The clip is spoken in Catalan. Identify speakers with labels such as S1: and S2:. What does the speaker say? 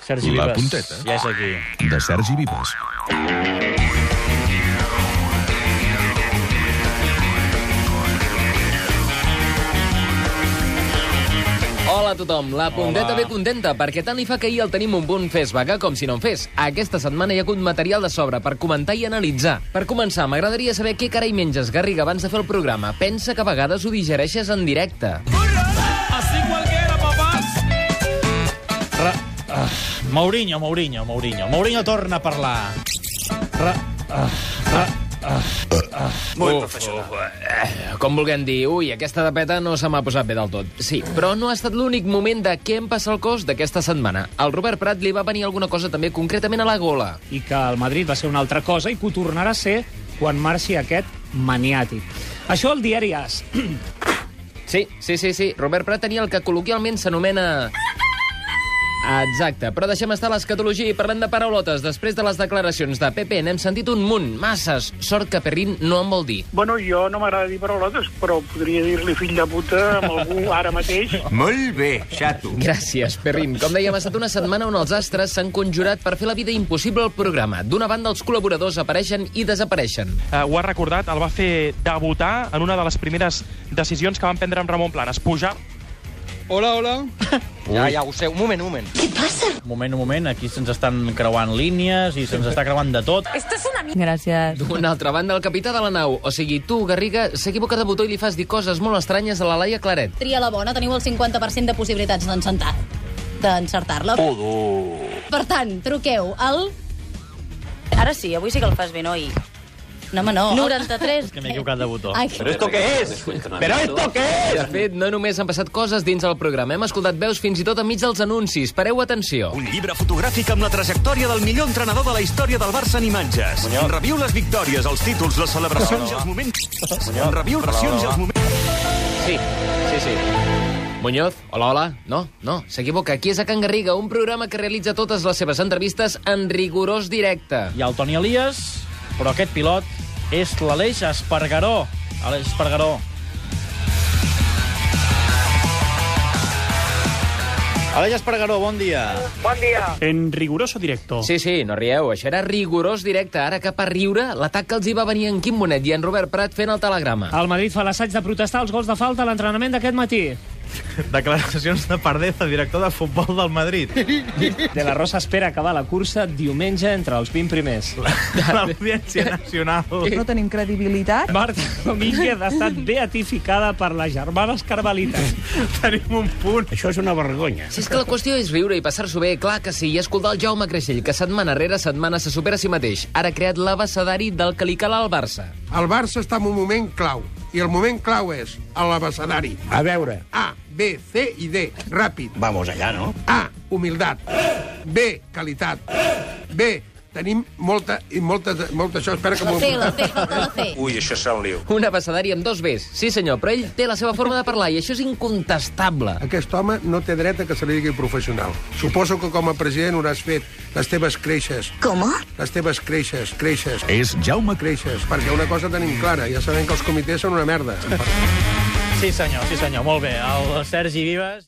S1: Sergi
S2: La
S1: Vives.
S2: punteta.
S1: Ja és aquí.
S2: de Sergi Vives.
S3: Hola a tothom, la Punteta ve contenta, perquè tant li fa que ahir el tenim un punt fes vaga com si no en fes. Aquesta setmana hi ha hagut material de sobre per comentar i analitzar. Per començar, m'agradaria saber què carai menges, Garriga, abans de fer el programa. Pensa que a vegades ho digereixes en directe.
S1: Ra... Ah, Mourinho, Mourinho, Mourinho. Mourinho torna a parlar. Ra... Ah, ra... Ah.
S4: Muy professional.
S3: Eh, Com vulguem dir, ui, aquesta de peta no se m'ha posat bé del tot. Sí, però no ha estat l'únic moment de què em passa el cos d'aquesta setmana. Al Robert Prat li va venir alguna cosa també concretament a la gola.
S5: i que el Madrid va ser una altra cosa i que ho tornarà a ser quan marxi aquest maniàtic. Això el diari AS.
S3: Sí, sí, sí, sí. Robert Prat tenia el que col·loquialment s'anomena... Exacte, però deixem estar l'escatologia i parlem de paraulotes. Després de les declaracions de Pepe n'hem sentit un munt, masses. Sort que Perrin no en vol dir.
S6: Bueno, jo no m'agrada dir paraulotes, però podria dir-li fill de puta amb algú ara mateix.
S4: Molt bé, xato.
S3: Gràcies, Perrin. Com dèiem, ha estat una setmana on els astres s'han conjurat per fer la vida impossible al programa. D'una banda, els col·laboradors apareixen i desapareixen.
S7: eh, ho ha recordat, el va fer debutar en una de les primeres decisions que van prendre amb Ramon Planes, pujar
S1: Un moment, un moment, aquí se'ns estan creuant línies i se'ns està creuant de tot.
S8: Gràcies.
S3: D'una altra banda, el capità de la nau, o sigui, tu, Garriga, s'equivoca de botó i li fas dir coses molt estranyes a la Laia Claret.
S9: Tria la bona, teniu el 50% de possibilitats d'encertar- d'encertar-la. Pudo. Per tant, truqueu al...
S8: Ara sí, avui sí que el fas bé, noi.
S9: No, home, no.
S8: 93.
S1: Que m'he equivocat de botó.
S9: Ai,
S3: De fet, no només han passat coses dins el programa, hem escoltat veus fins i tot enmig dels anuncis. Pareu atenció.
S10: Un llibre fotogràfic amb la trajectòria del millor entrenador de la història del Barça en imatges. Reviu les victòries, els títols, les celebracions i els moments... Reviu versions i els moments...
S3: Sí, sí, sí. Muñoz, hola, hola. No, no, s'equivoca. Aquí és a Can Garriga, un programa que realitza totes les seves entrevistes en rigorós directe.
S1: Hi ha el Toni Elias, però aquest pilot és l'Aleix Espargaró. Aleix Espargaró. Aleix Espargaró, bon dia.
S5: En riguroso directo.
S3: Sí, sí, no rieu, això era rigorós directe. Ara cap a riure, l'atac que els hi va venir en Quim Bonet i en Robert Prat fent el telegrama.
S5: El Madrid fa l'assaig de protestar els gols de falta a l'entrenament d'aquest matí.
S11: Declaracions de Pardeza, director de futbol del Madrid.
S5: De la Rosa espera acabar la cursa diumenge entre els 20 primers.
S11: L'Audiència Nacional.
S8: No tenim credibilitat.
S5: Marta Domínguez ha estat beatificada per les germanes Carmelites.
S11: Tenim un punt.
S6: Això és una vergonya.
S3: Si és que la qüestió és riure i passar-s'ho bé, clar que sí, i escoltar el Jaume Creixell, que setmana rere setmana se supera a si mateix. Ara ha creat l'abecedari del que li cal al Barça.
S6: El Barça està en un moment clau, i el moment clau és a l'abecedari. A veure. A, B, C i D, ràpid.
S4: Vamos allá, no?
S6: A, humildat. B, qualitat. B, tenim molta, i molta, molta això, espera que
S9: la
S6: m'ho...
S9: fe, la fe, falta la fe.
S4: Ui, això serà un lío.
S3: Un abecedari amb dos Bs. Sí, senyor, però ell té la seva forma de parlar i això és incontestable.
S6: Aquest home no té dret a que se li digui professional. Suposo que com a president hauràs fet les teves creixes. Com? Les teves creixes, creixes.
S2: És Jaume Cre...
S6: creixes, perquè una cosa tenim clara, ja sabem que els comitès són una merda.
S1: Sí, senyor, sí, senyor, molt bé. El Sergi Vives...